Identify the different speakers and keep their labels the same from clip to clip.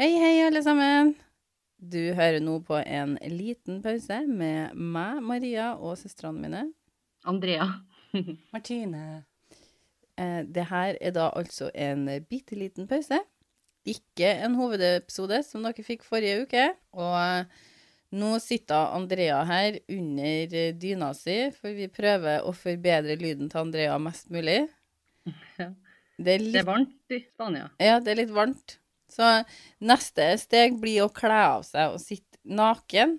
Speaker 1: Hei, hei, alle sammen. Du hører nå på en liten pause med meg, Maria, og søstrene mine.
Speaker 2: Andrea.
Speaker 1: Martine. Eh, det her er da altså en bitte liten pause. Ikke en hovedepisode, som dere fikk forrige uke. Og eh, nå sitter Andrea her under eh, dyna si, for vi prøver å forbedre lyden til Andrea mest mulig.
Speaker 2: Ja.
Speaker 1: Det er
Speaker 2: Det
Speaker 1: litt
Speaker 2: er varmt i Spania.
Speaker 1: ja, det er litt varmt. Så neste steg blir å kle av seg og sitte naken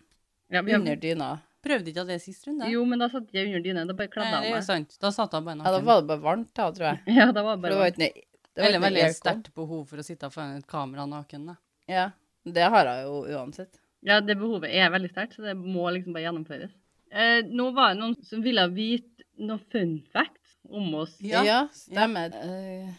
Speaker 2: Ja, vi har-
Speaker 1: under dyna.
Speaker 3: Prøvde ikke at det sist runde?
Speaker 2: jo, men da satt jeg under dyna. Da bare kladde
Speaker 3: Nei,
Speaker 2: jeg
Speaker 3: det er jo
Speaker 2: av meg.
Speaker 3: sant. Da satt jeg bare
Speaker 1: Ja, da
Speaker 3: naken.
Speaker 1: var det bare varmt, da, tror jeg.
Speaker 2: Ja, da var
Speaker 1: For
Speaker 2: det bare
Speaker 1: det var jo ikke noe- det var
Speaker 3: Eller
Speaker 1: ikke noe
Speaker 3: veldig
Speaker 1: aircon.
Speaker 3: sterkt behov for å sitte foran et kamera naken. Da.
Speaker 1: Ja, det har jeg jo uansett.
Speaker 2: Ja, det behovet er veldig sterkt, så det må liksom bare gjennomføres. Eh, nå var det noen som ville vite noen fun facts om oss.
Speaker 1: Ja,
Speaker 3: Ja.
Speaker 1: stemmer.
Speaker 3: Eh,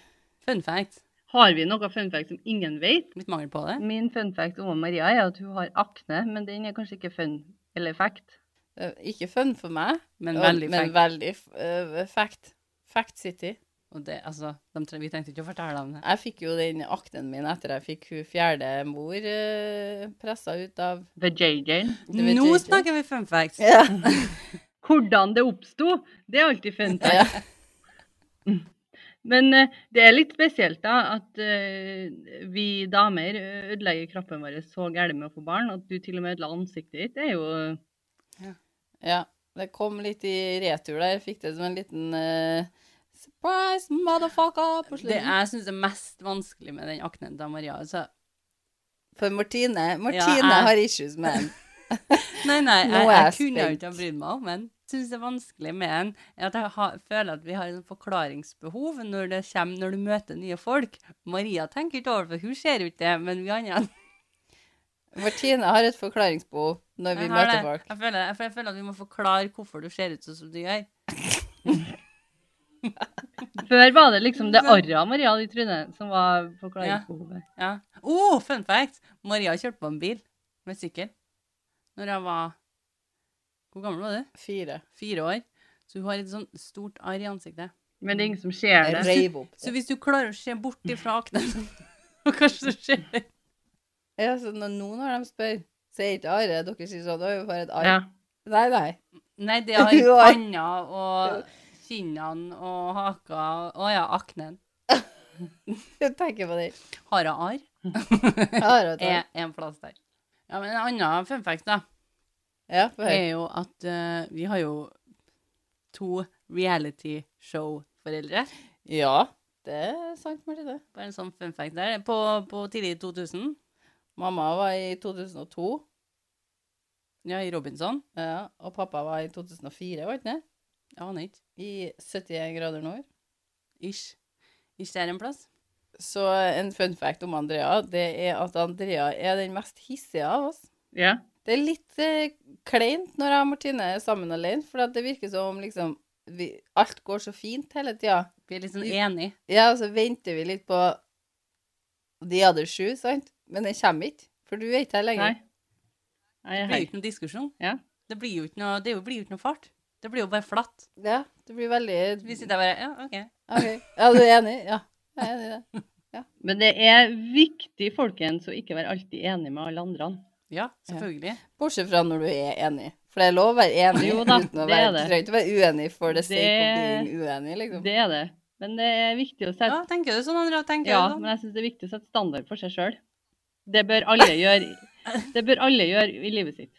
Speaker 3: fun fact.
Speaker 2: Har vi noen fun facts som ingen vet?
Speaker 3: Litt mangel på
Speaker 1: Mm.
Speaker 3: det.
Speaker 2: Min fun fact om Maria er at hun har akne, men den er kanskje ikke fun eller fact.
Speaker 1: Eh, Ikke fun for meg,
Speaker 3: Men
Speaker 1: og-
Speaker 3: veldig
Speaker 1: men
Speaker 3: fact.
Speaker 1: veldig f- eh, fact. Fact City.
Speaker 3: Og det, altså, de tre, vi tenkte ikke å fortelle dem det.
Speaker 1: Jeg fikk jo den aknen min etter jeg fikk hun fjerde mor uh, pressa ut av
Speaker 2: The JJ.
Speaker 1: Det vet
Speaker 3: Nå
Speaker 1: vi ikke.
Speaker 3: snakker vi fun facts.
Speaker 1: Ja.
Speaker 2: Hvordan det oppsto, det er alltid fun fact.
Speaker 1: ja.
Speaker 2: Men eh, det er litt spesielt da, at eh, vi damer eh, ødelegger kroppen vår så gærent med å få barn. At du til og med ødela ansiktet ditt, det er jo
Speaker 1: Ja, det kom litt i retur der. Jeg fikk det som en liten eh, surprise, motherfucker, på
Speaker 3: Det
Speaker 1: slutten.
Speaker 3: jeg syns er mest vanskelig med den aknen til Maria altså,
Speaker 1: For Martine, Martine
Speaker 3: Ja, jeg-
Speaker 1: har issues med den.
Speaker 3: Nei, nei,
Speaker 1: Nå
Speaker 3: jeg,
Speaker 1: er
Speaker 3: jeg
Speaker 1: jeg
Speaker 3: kunne jo
Speaker 1: spent.
Speaker 3: ikke ha brydd meg om den. Syns det er vanskelig med den, er at jeg har, føler at vi har en forklaringsbehov når det kommer, når du møter nye folk. Maria tenker ikke over det, for hun ser jo ikke det, men vi andre
Speaker 1: Martine har et forklaringsbehov når vi
Speaker 3: Jeg har
Speaker 1: møter
Speaker 3: det.
Speaker 1: folk.
Speaker 3: Jeg føler, jeg, føler- jeg føler at vi må forklare hvorfor du ser ut sånn som du gjør.
Speaker 2: Før var det liksom det arret av Maria i trynet som var forklaringsbehovet.
Speaker 3: Ja. Oh, fun fact! Maria kjørte på en bil med sykkel når jeg var Hvor gammel var du?
Speaker 1: Fire.
Speaker 3: Fire år. Så hun har et sånn stort arr i ansiktet.
Speaker 2: Men det er ingen som ser
Speaker 1: Jeg
Speaker 2: det.
Speaker 1: reiv opp.
Speaker 3: Så hvis du klarer å se bort ifra aknen og kanskje så skjer det.
Speaker 1: Ja, så når, nå når de spør, så er ikke arret Dere sier sånn Oi, for et arr.
Speaker 2: Ja.
Speaker 1: Nei, nei.
Speaker 3: Nei, det har
Speaker 1: Jo, jeg-
Speaker 3: panna og kinnene og haka Å ja, aknen.
Speaker 1: Jeg tenker på det.
Speaker 3: Har hun arr?
Speaker 1: Arret og
Speaker 3: Er en plass der. Ja, men en annen fun fact, da.
Speaker 1: Ja, få høre.
Speaker 3: er jo at eh, vi har jo to reality-show-foreldre.
Speaker 1: Ja, det er sant, Martine.
Speaker 3: Bare en sånn fun fact der. På, på tidlig 2000,
Speaker 1: Mamma var i 2002,
Speaker 3: ja, i Robinson.
Speaker 1: ja, og pappa var i 2004, var ikke det?
Speaker 3: Jeg aner ikke.
Speaker 1: I 71 grader nord.
Speaker 3: Ish. Ish der en plass.
Speaker 1: Så en fun fact om Andrea, det er at Andrea er den mest hissige av oss.
Speaker 2: ja.
Speaker 1: Det er litt eh, kleint når jeg og Martine er sammen alene, for at det virker som om liksom, vi, alt går så fint hele tida.
Speaker 3: Vi er litt sånn
Speaker 1: Vi-
Speaker 3: enige.
Speaker 1: Ja, og så venter vi litt på de other sju, sant? Men den kommer ikke, for du er ikke her
Speaker 2: Nei.
Speaker 1: lenger.
Speaker 2: Nei, hei.
Speaker 3: Det blir jo ikke noe diskusjon.
Speaker 2: Ja.
Speaker 3: Det blir jo ikke noe, det er jo- blir jo ikke noe fart. Det blir jo bare flatt.
Speaker 1: Ja, det blir veldig
Speaker 3: Vi sitter bare Ja, OK.
Speaker 1: Ok. Ja, du er enig? Ja. Jeg er enig i det.
Speaker 2: Men det er viktig, folkens, å ikke være alltid enig med alle andre.
Speaker 3: Ja, selvfølgelig.
Speaker 1: Bortsett fra når du er enig. For det er lov å være enig
Speaker 2: Jo da,
Speaker 1: uten å
Speaker 2: det
Speaker 1: være
Speaker 2: er det.
Speaker 1: Du trenger ikke å være uenig for det sake of
Speaker 2: Det-
Speaker 1: being uenig, liksom.
Speaker 2: Det er det. Men det er viktig å sette
Speaker 3: Ja, tenker du sånn, Andrea? Tenker
Speaker 2: Ja,
Speaker 3: du sånn?
Speaker 2: men jeg syns det er viktig å sette standard for seg sjøl. Det bør alle gjøre Det bør alle gjøre i livet sitt.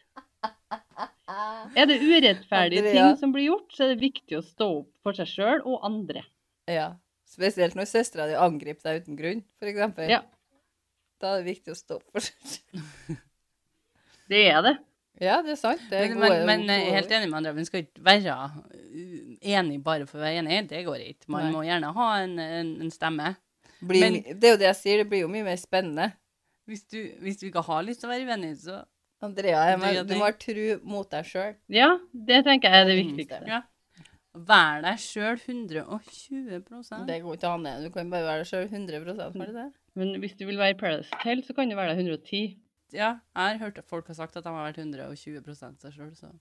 Speaker 2: Er det urettferdige
Speaker 1: Andrea.
Speaker 2: ting som blir gjort, så er det viktig å stå opp for seg sjøl og andre.
Speaker 1: Ja. Spesielt når søstera di angriper deg uten grunn, for eksempel.
Speaker 2: Ja.
Speaker 1: Da er det viktig å stoppe for seg.
Speaker 2: Det er det.
Speaker 1: Ja, det er sant. Det er
Speaker 3: Men,
Speaker 1: gode,
Speaker 3: men, men
Speaker 1: gode
Speaker 3: jeg er helt
Speaker 1: ord.
Speaker 3: enig med Andrea, man skal ikke være uh, enig bare for å være enig. Det går ikke. Man
Speaker 1: Nei.
Speaker 3: må gjerne ha en, en, en stemme.
Speaker 1: Blir
Speaker 3: men-
Speaker 1: mi- Det er jo det jeg sier, det blir jo mye mer spennende.
Speaker 3: Hvis du, hvis du ikke har lyst til å være uenig, så
Speaker 1: Andrea, jeg
Speaker 3: Du
Speaker 1: mener,
Speaker 3: gjør
Speaker 1: du
Speaker 3: det.
Speaker 1: må ha tru mot deg sjøl.
Speaker 2: Ja, det tenker jeg er det viktigste.
Speaker 3: ja. Vær deg sjøl 120
Speaker 1: Det går ikke an, det. Du kan bare være deg sjøl 100 var det det?
Speaker 2: Men hvis du vil være i Paradise Hotel, så kan du være der 110.
Speaker 3: Ja, jeg har hørt at folk har sagt at de har vært 120 seg sjøl, så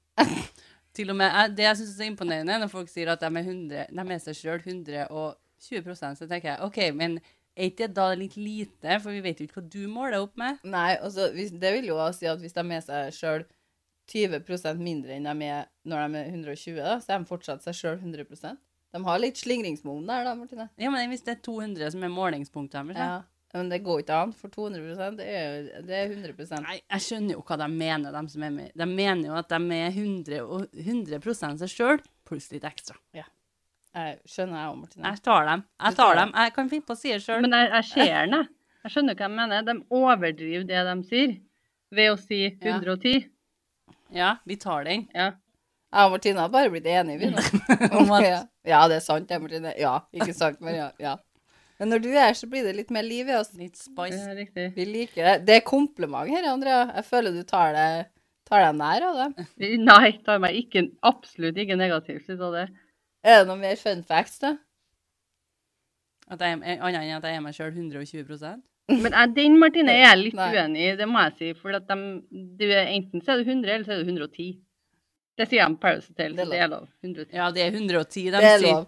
Speaker 3: Til og med, jeg, Det jeg syns er så imponerende, er når folk sier at de er, 100, de er seg sjøl 120 så tenker jeg OK, men Er ikke det da litt lite, for vi vet jo ikke hva du måler opp med?
Speaker 1: Nei, altså, hvis, det vil jo også si at hvis de er med seg sjøl 20 mindre enn de er når de er 120, da, så er de fortsatt seg sjøl 100 De har litt slingringsmonn der, da, Martine.
Speaker 3: Ja, men hvis det er 200 som er målingspunktet deres, da.
Speaker 1: Ja. Men det går ikke an, for 200 det er, jo- det er 100
Speaker 3: Nei, jeg skjønner jo hva de mener, de som er med. De mener jo at de er 100, og 100 seg sjøl, pluss litt ekstra.
Speaker 1: Jeg skjønner jeg òg, Martine.
Speaker 3: Jeg tar dem. Jeg
Speaker 1: Du tar
Speaker 3: tar dem. Jeg kan finne på å si det sjøl.
Speaker 2: Men jeg, jeg ser den, jeg. Jeg skjønner hva de mener. De overdriver det de sier, ved å si 110.
Speaker 3: Ja, vi tar den.
Speaker 2: Ja.
Speaker 1: Jeg og Martine har bare blitt enige, vi nå.
Speaker 3: Om at-
Speaker 1: Ja. Ja, det er sant, det, Martine. Ja, ikke sant, men ja. ja. Men når du er her, så blir det litt mer liv i oss.
Speaker 3: Litt
Speaker 2: Det
Speaker 1: Eh.
Speaker 3: spice.
Speaker 2: er riktig.
Speaker 1: Vi liker det. Det er kompliment her, Andrea. Jeg føler du tar deg, tar deg nær av dem.
Speaker 2: Nei, tar meg ikke, absolutt ikke negativt ut av det.
Speaker 1: Er det noe mer fun facts, da?
Speaker 3: At jeg, er- annet enn at jeg er meg sjøl 120
Speaker 2: Men jeg, den, Martine, er jeg litt
Speaker 1: Nei.
Speaker 2: uenig i, det må jeg si. For at de, du er- enten så er det 100, eller så er det 110. Det sier de på Paris Hotel,
Speaker 1: Det er
Speaker 2: så det er lov. 110.
Speaker 3: Ja, det er 110 de
Speaker 1: Det er
Speaker 3: sier.
Speaker 1: lov.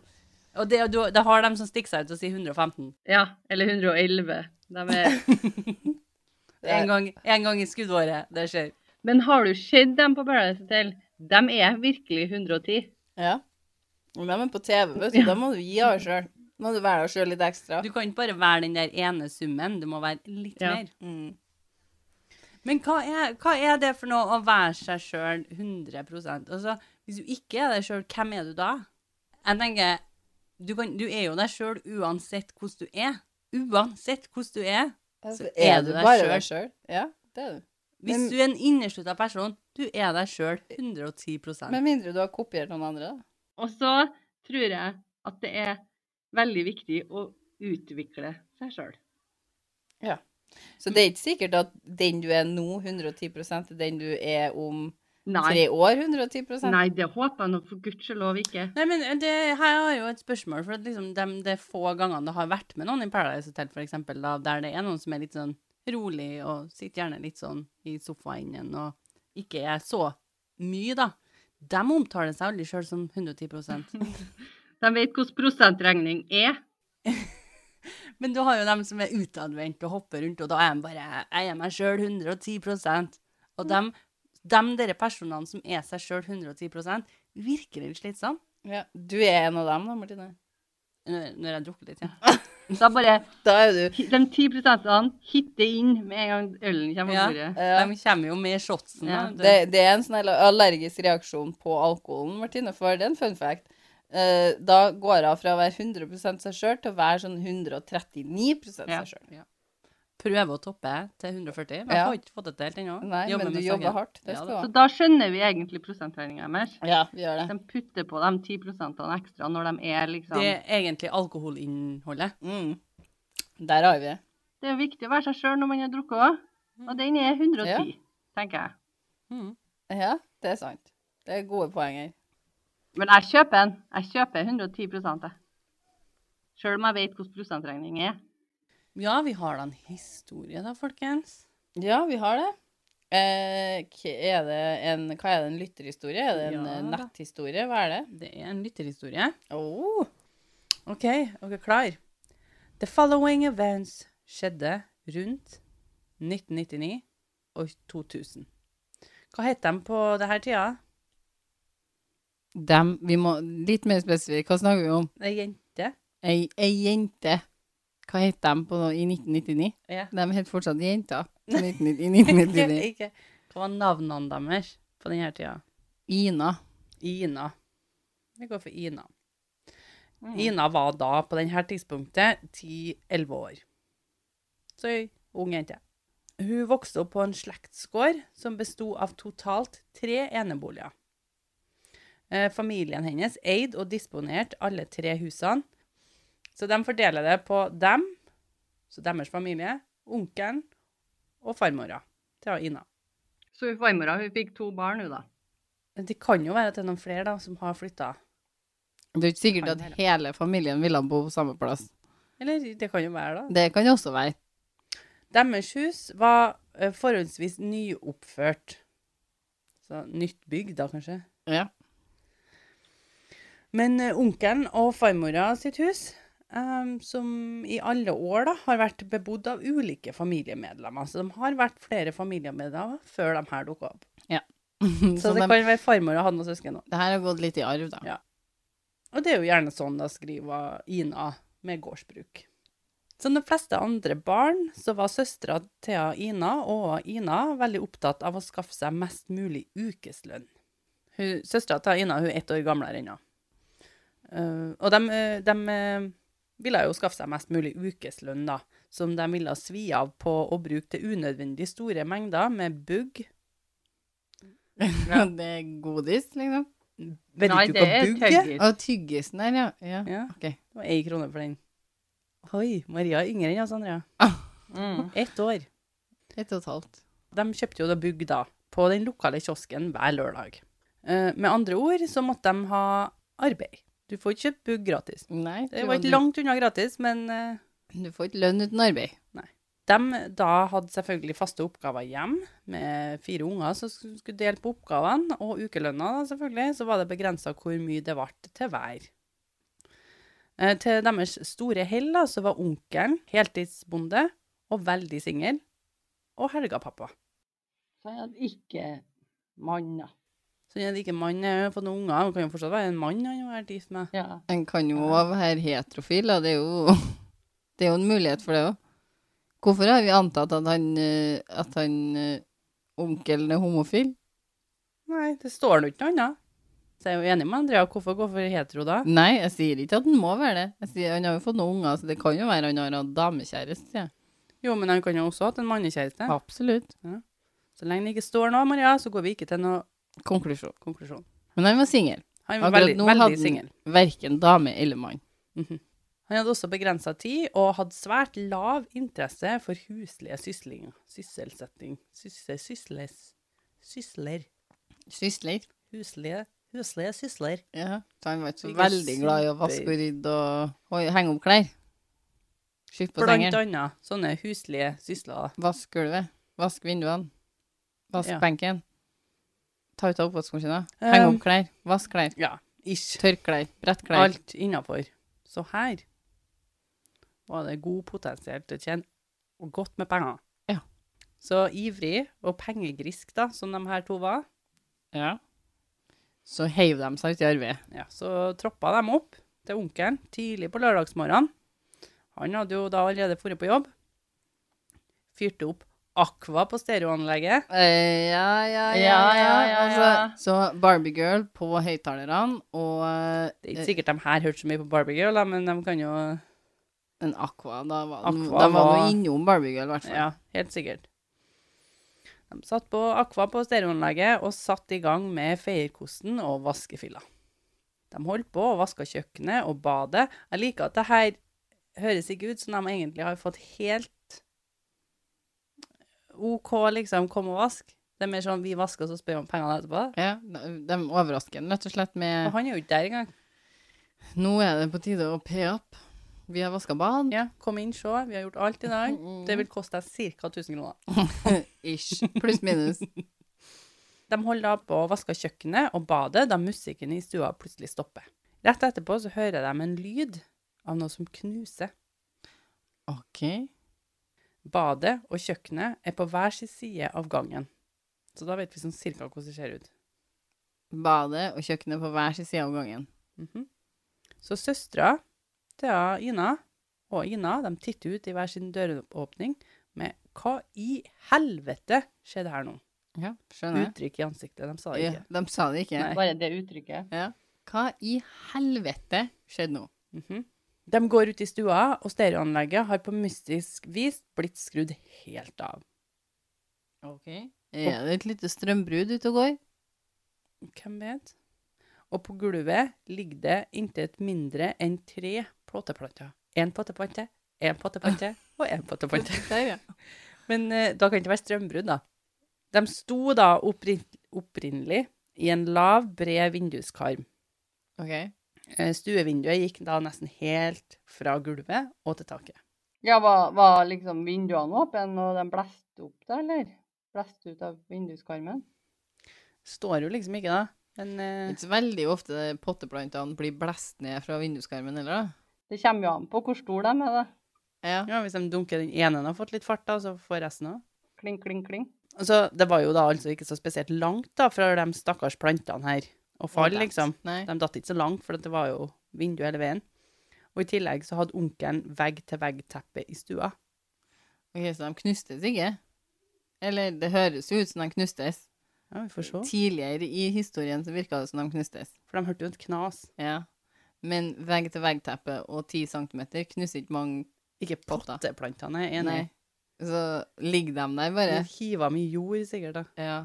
Speaker 3: Og det, og du- da har de som stikker seg ut og sier 115.
Speaker 2: Ja, eller 111. De er...
Speaker 1: Det-
Speaker 3: En gang, en gang i skuddåret. Det skjer.
Speaker 2: Men har du sett dem på Paris Hotel? De er virkelig 110.
Speaker 1: Ja. Men de er på TV, vet du. Da må du gi av deg sjøl. Må du være deg sjøl litt ekstra.
Speaker 3: Du kan ikke bare være den der ene summen, du må være litt
Speaker 2: Ja.
Speaker 3: mer.
Speaker 1: Mm.
Speaker 3: Men hva er, hva er det for noe å være seg sjøl 100 Altså, Hvis du ikke er deg sjøl, hvem er du da? Jeg tenker, Du, kan, du er jo deg sjøl uansett hvordan du er. Uansett hvordan du er.
Speaker 1: Så Altså,
Speaker 3: er
Speaker 1: er
Speaker 3: du
Speaker 1: du
Speaker 3: deg
Speaker 1: bare
Speaker 3: selv.
Speaker 1: deg sjøl. Ja, det er du.
Speaker 3: Hvis
Speaker 1: Men-
Speaker 3: du er en innerslutta person, du er deg sjøl 110
Speaker 1: Med mindre du har kopiert noen andre, da.
Speaker 2: Og så tror jeg at det er veldig viktig å utvikle seg sjøl.
Speaker 1: Så
Speaker 3: Mm.
Speaker 1: det er ikke sikkert at den du er nå, 110 er den du er om
Speaker 2: Nei.
Speaker 1: tre år, 110
Speaker 2: Nei, det håper jeg nå for guds lov ikke.
Speaker 3: Nei, men eh, det, her har jeg jo et spørsmål, for at liksom de, det er få gangene det har vært med noen i Paradise Hotel, for eksempel, da, der det er noen som er litt sånn rolig, og sitter gjerne litt sånn i sofaen, og ikke er så mye, da. De omtaler seg aldri sjøl som 110
Speaker 2: De vet hvordan prosentregning er.
Speaker 3: Men du har jo dem som er utadvendt og hopper rundt, og da er de bare Jeg er meg sjøl 110 Og dem, dem dere personene som er seg sjøl 110 virker litt slitsomme.
Speaker 1: Ja. Du er en av dem, da, Martine.
Speaker 3: Når når jeg drukker litt, ja.
Speaker 2: Da bare
Speaker 1: Da er du
Speaker 2: De 10 prosentene hitter inn med en gang ølen kommer
Speaker 3: Ja.
Speaker 2: på bordet.
Speaker 1: ja.
Speaker 3: De kommer jo med shotsen.
Speaker 2: Ja,
Speaker 3: da, vet du.
Speaker 1: det, det er en sånn aller- allergisk reaksjon på alkoholen, Martine, for det er en fun fact. Eh, da går hun fra å være 100 seg sjøl til å være sånn 139 seg
Speaker 3: Ja.
Speaker 1: sjøl.
Speaker 3: prøve å toppe til 140, men
Speaker 1: Ja.
Speaker 3: jeg har ikke fått det til helt ennå.
Speaker 1: Nei,
Speaker 3: Jobber
Speaker 1: men du
Speaker 3: med
Speaker 1: jobber
Speaker 3: saken.
Speaker 1: hardt. Det skal du
Speaker 3: da.
Speaker 1: ha.
Speaker 2: Så da skjønner vi egentlig prosentregninga deres.
Speaker 1: Ja, vi gjør det.
Speaker 2: De putter på de 10 prosentene ekstra når de er liksom
Speaker 3: Det
Speaker 2: Det,
Speaker 3: er egentlig alkoholinnholdet.
Speaker 1: Mm. Der har vi det.
Speaker 2: er jo viktig å være seg sjøl når man har drukket òg. Og den er 110,
Speaker 1: Ja.
Speaker 2: tenker jeg.
Speaker 3: Mhm.
Speaker 1: Ja, det er sant. Det er gode poenger.
Speaker 2: Men jeg kjøper den. Jeg kjøper 110 jeg. Sjøl om jeg vet hvordan prosentregning er.
Speaker 3: Ja, vi har da en historie da, folkens.
Speaker 1: Ja, vi har det. Eh, k- er det en, hva er det, en lytterhistorie? Er det en
Speaker 3: Ja
Speaker 1: eh,
Speaker 3: da.
Speaker 1: netthistorie? Hva er det?
Speaker 3: Det er en lytterhistorie.
Speaker 1: Oh.
Speaker 3: OK, dere er klar? The following events skjedde rundt 1999 og 2000. Hva het de på denne tida?
Speaker 1: Dem, vi må litt mer spesifikt. Hva snakker vi om?
Speaker 3: Ei jente?
Speaker 1: Ei, ei jente. Hva het dem på, i 1999?
Speaker 3: Ja.
Speaker 1: De het fortsatt jenter i 1990 i
Speaker 3: Ikke,
Speaker 1: 1999.
Speaker 3: ikke. Hva var navnene deres på denne tida?
Speaker 1: Ina.
Speaker 3: Ina. Vi går for Ina. Ina var da, på denne tidspunktet, 10-11 år. Så ei ung jente. Hun vokste opp på en slektsgård som bestod av totalt tre eneboliger. Eh, Familien hennes eid og disponerte alle tre husene. Så de fordeler det på dem, så deres familie, onkelen og farmora til Ina.
Speaker 2: Så hun farmora hun fikk to barn, hun da.
Speaker 3: Men Det kan jo være at det er noen flere da, som har flytta.
Speaker 1: Det er jo ikke sikkert at hele familien ville bo på samme plass.
Speaker 3: Eller det kan jo være, da.
Speaker 1: Det kan det også være.
Speaker 3: Deres hus var eh, forholdsvis nyoppført. Så nytt bygg, da, kanskje.
Speaker 1: Ja.
Speaker 3: Men eh, onkelen og farmora sitt hus em, som i alle år da, har vært bebodd av ulike familiemedlemmer. Så de har vært flere familiemedlemmer før de her dukka opp. Så,
Speaker 1: Så de,
Speaker 3: det kan være farmor og han og søsken òg.
Speaker 1: det her har gått litt i arv, da.
Speaker 3: Ja. Og det er jo gjerne sånn da skriver Ina med gårdsbruk. Som de fleste andre barn så var søstera Thea Ina og Ina veldig opptatt av å skaffe seg mest mulig ukeslønn. Hun- Søstera til Ina hun er ett år gamlere ennå. Eh, og de, eh, de eh, ville jo skaffe seg mest mulig ukeslønn, da, som de ville svi av på å bruke til unødvendig store mengder med bugg.
Speaker 1: det er godis, liksom.
Speaker 3: Vet
Speaker 2: Nei,
Speaker 3: du
Speaker 2: det
Speaker 3: hva
Speaker 2: er
Speaker 3: bugg er?
Speaker 2: tøggis.
Speaker 1: Og tyggisen der, ja. ja.
Speaker 3: Ja.
Speaker 1: Ok.
Speaker 3: Det var én krone for den. Oi, Maria er yngre enn oss, Andrea.
Speaker 2: Mm.
Speaker 3: Ett år.
Speaker 1: Ett og et halvt.
Speaker 3: De kjøpte jo da bugg da, på den lokale kiosken hver lørdag. Eh, med andre ord så måtte de ha arbeid. Du får ikke kjøpt bugg gratis.
Speaker 1: Nei,
Speaker 3: Det
Speaker 1: tror
Speaker 3: var ikke
Speaker 1: du-
Speaker 3: langt unna gratis, men eh,
Speaker 1: Du får ikke lønn uten arbeid.
Speaker 3: de da hadde selvfølgelig faste oppgaver hjem, med fire unger som sk- skulle dele på oppgavene, og ukelønna da, selvfølgelig, så var det begrensa hvor mye det ble til hver. Eh, Til deres store hell da, så var onkelen heltidsbonde og veldig singel, og helgapappa.
Speaker 2: Så jeg hadde ikke mann, da.
Speaker 3: Så han er ikke mann, han har fått noen unger, han kan jo fortsatt være en mann han har vært gift med.
Speaker 2: Ja.
Speaker 1: En kan jo òg være heterofil, da. Det er jo, det er jo en mulighet for det òg. Hvorfor har vi antatt at han, eh, at han eh, onkelen er homofil?
Speaker 3: Nei, det står nå ikke noe annet. Så jeg er jo enig med Andrea, hvorfor gå for hetero da?
Speaker 1: Nei, jeg sier ikke at han må være det. Jeg sier Han har jo fått noen unger, så det kan jo være han har hatt damekjæreste. sier jeg.
Speaker 3: Jo, men han kan jo også ha hatt en mannekjæreste.
Speaker 1: Absolutt.
Speaker 3: Så lenge det ikke står noe, Maria, så går vi ikke til noen
Speaker 1: Konklusjon.
Speaker 3: konklusjon.
Speaker 1: Men han var singel.
Speaker 3: Han var
Speaker 1: Akkurat
Speaker 3: veldig,
Speaker 1: nå
Speaker 3: veldig
Speaker 1: hadde han
Speaker 3: singel.
Speaker 1: verken dame eller mann.
Speaker 3: Han hadde også begrensa tid, og hadde svært lav interesse for huslige syslinger. Sysselsetting. Sysse, sysles. Sysler.
Speaker 1: Sysler.
Speaker 3: Huslige. Huslige sysler.
Speaker 1: Ja, så han var ikke så
Speaker 3: Ikke
Speaker 1: veldig glad i å
Speaker 3: super.
Speaker 1: vaske og rydde og og henge opp klær. Skyft på
Speaker 3: Blant
Speaker 1: sengen.
Speaker 3: annet sånne huslige sysler.
Speaker 1: Vask gulvet. Vask vinduene. Vask
Speaker 3: Ja.
Speaker 1: benken. Ta ut av oppvaskmaskinen. Heng
Speaker 3: Um,
Speaker 1: opp klær. Vask klær.
Speaker 3: Ja, ish.
Speaker 1: Tørk klær. Brett klær.
Speaker 3: Alt innafor. Så her var det god potensial til å tjene og godt med penger.
Speaker 1: Ja.
Speaker 3: Så ivrig og pengegrisk, da, som de her to var,
Speaker 1: Ja. Så heiv de seg ut i arbeidet.
Speaker 3: ja, så troppa de opp til onkelen tidlig på lørdagsmorgenen. Han hadde jo da allerede dratt på jobb. Fyrte opp Aqua på stereoanlegget.
Speaker 1: Eh, ja, ja, ja.
Speaker 2: Ja, ja, ja, ja.
Speaker 1: Altså, så Barbie-girl på høyttalerne og
Speaker 3: Det er
Speaker 1: eh,
Speaker 3: ikke sikkert de her hørte så mye på Barbie Girl, da, men de kan jo
Speaker 1: en Aqua. Da var,
Speaker 3: Aqua
Speaker 1: da var
Speaker 3: var-
Speaker 1: noe innom Barbie-girl, i hvert fall.
Speaker 3: Ja, helt sikkert. De satt på Aqua på stereoanlegget og satt i gang med feierkosten og vaskefylla. De holdt på og vaska kjøkkenet og badet. Jeg liker at det her høres ikke ut som de egentlig har fått helt OK, liksom, kom og vask. Det er mer sånn vi vasker, så spør vi om pengene etterpå.
Speaker 1: Ja, de de overrasker den rett og slett
Speaker 3: Og
Speaker 1: med
Speaker 3: han er jo ikke der engang.
Speaker 1: Nå er det på tide å pe opp. Vi har vaska bad.
Speaker 3: Ja, kom inn, se. Vi har gjort alt i dag. Det vil koste deg ca. 1000 kroner.
Speaker 1: Ish. Pluss minus.
Speaker 3: De holder da på å vaske kjøkkenet og badet da musikken i stua plutselig stopper. Rett etterpå så hører de en lyd av noe som knuser.
Speaker 1: OK.
Speaker 3: Badet og kjøkkenet er på hver sin side av gangen. Så da vet vi sånn cirka hvordan det ser ut.
Speaker 1: Badet og kjøkkenet på hver sin side av gangen.
Speaker 3: Mhm. Så søstera til Ina og Ina de titter ut i hver sin døråpning med 'Hva i helvete skjedde her nå?'
Speaker 1: Ja, skjønner jeg.
Speaker 3: Uttrykk i ansiktet. De sa det
Speaker 1: Ja,
Speaker 3: ikke.
Speaker 1: de sa det ikke.
Speaker 3: Nei.
Speaker 2: Bare det uttrykket.
Speaker 1: Ja. Hva i helvete skjedde nå?
Speaker 3: Mhm. De går ut i stua, og stereoanlegget har på mystisk vis blitt skrudd helt av.
Speaker 1: Ok. Er det et lite strømbrudd ute og går?
Speaker 3: Hvem vet? Og på gulvet ligger det intet mindre enn tre plåteplanter. Én potteplante, én potteplante og én potteplante.
Speaker 1: Der, ja.
Speaker 3: Men eh, da kan det ikke være strømbrudd, da. De sto da opprin opprinnelig i en lav, bred vinduskarm.
Speaker 1: Ok.
Speaker 3: Eh, Stuevinduet gikk da nesten helt fra gulvet og til taket.
Speaker 2: Ja, var, var liksom vinduene åpne, og de blåste opp da, eller? Blåste ut av vinduskarmen?
Speaker 3: Står jo liksom ikke, da. Men eh,
Speaker 1: Ikke så veldig ofte potteplantene blir blåst ned fra vinduskarmen heller, da.
Speaker 2: Det kommer jo an på hvor stor de er, da.
Speaker 1: Ja.
Speaker 3: Ja, Hvis de dunker den ene og har fått litt fart, da, så får resten òg.
Speaker 2: Kling, kling, kling.
Speaker 3: Så det var jo da altså ikke så spesielt langt da, fra de stakkars plantene her å falle,
Speaker 1: Overalt.
Speaker 3: liksom.
Speaker 1: Nei.
Speaker 3: De datt ikke så langt, for det var jo vindu hele veien. Og i tillegg så hadde onkelen vegg-til-vegg-teppe i stua.
Speaker 1: Ok, Så de knustes ikke? Eller det høres jo ut som de knustes.
Speaker 3: Ja, vi får se.
Speaker 1: Tidligere i historien så virka det som de knustes.
Speaker 3: For de hørte jo et knas.
Speaker 1: Ja. Men vegg-til-vegg-teppe og 10 cm knuser ikke mange
Speaker 3: Ikke
Speaker 1: Potta.
Speaker 3: potteplantene, jeg er enig.
Speaker 1: Nei. Så ligger de der bare.
Speaker 3: De hiva mye jord, sikkert. da.
Speaker 1: Ja.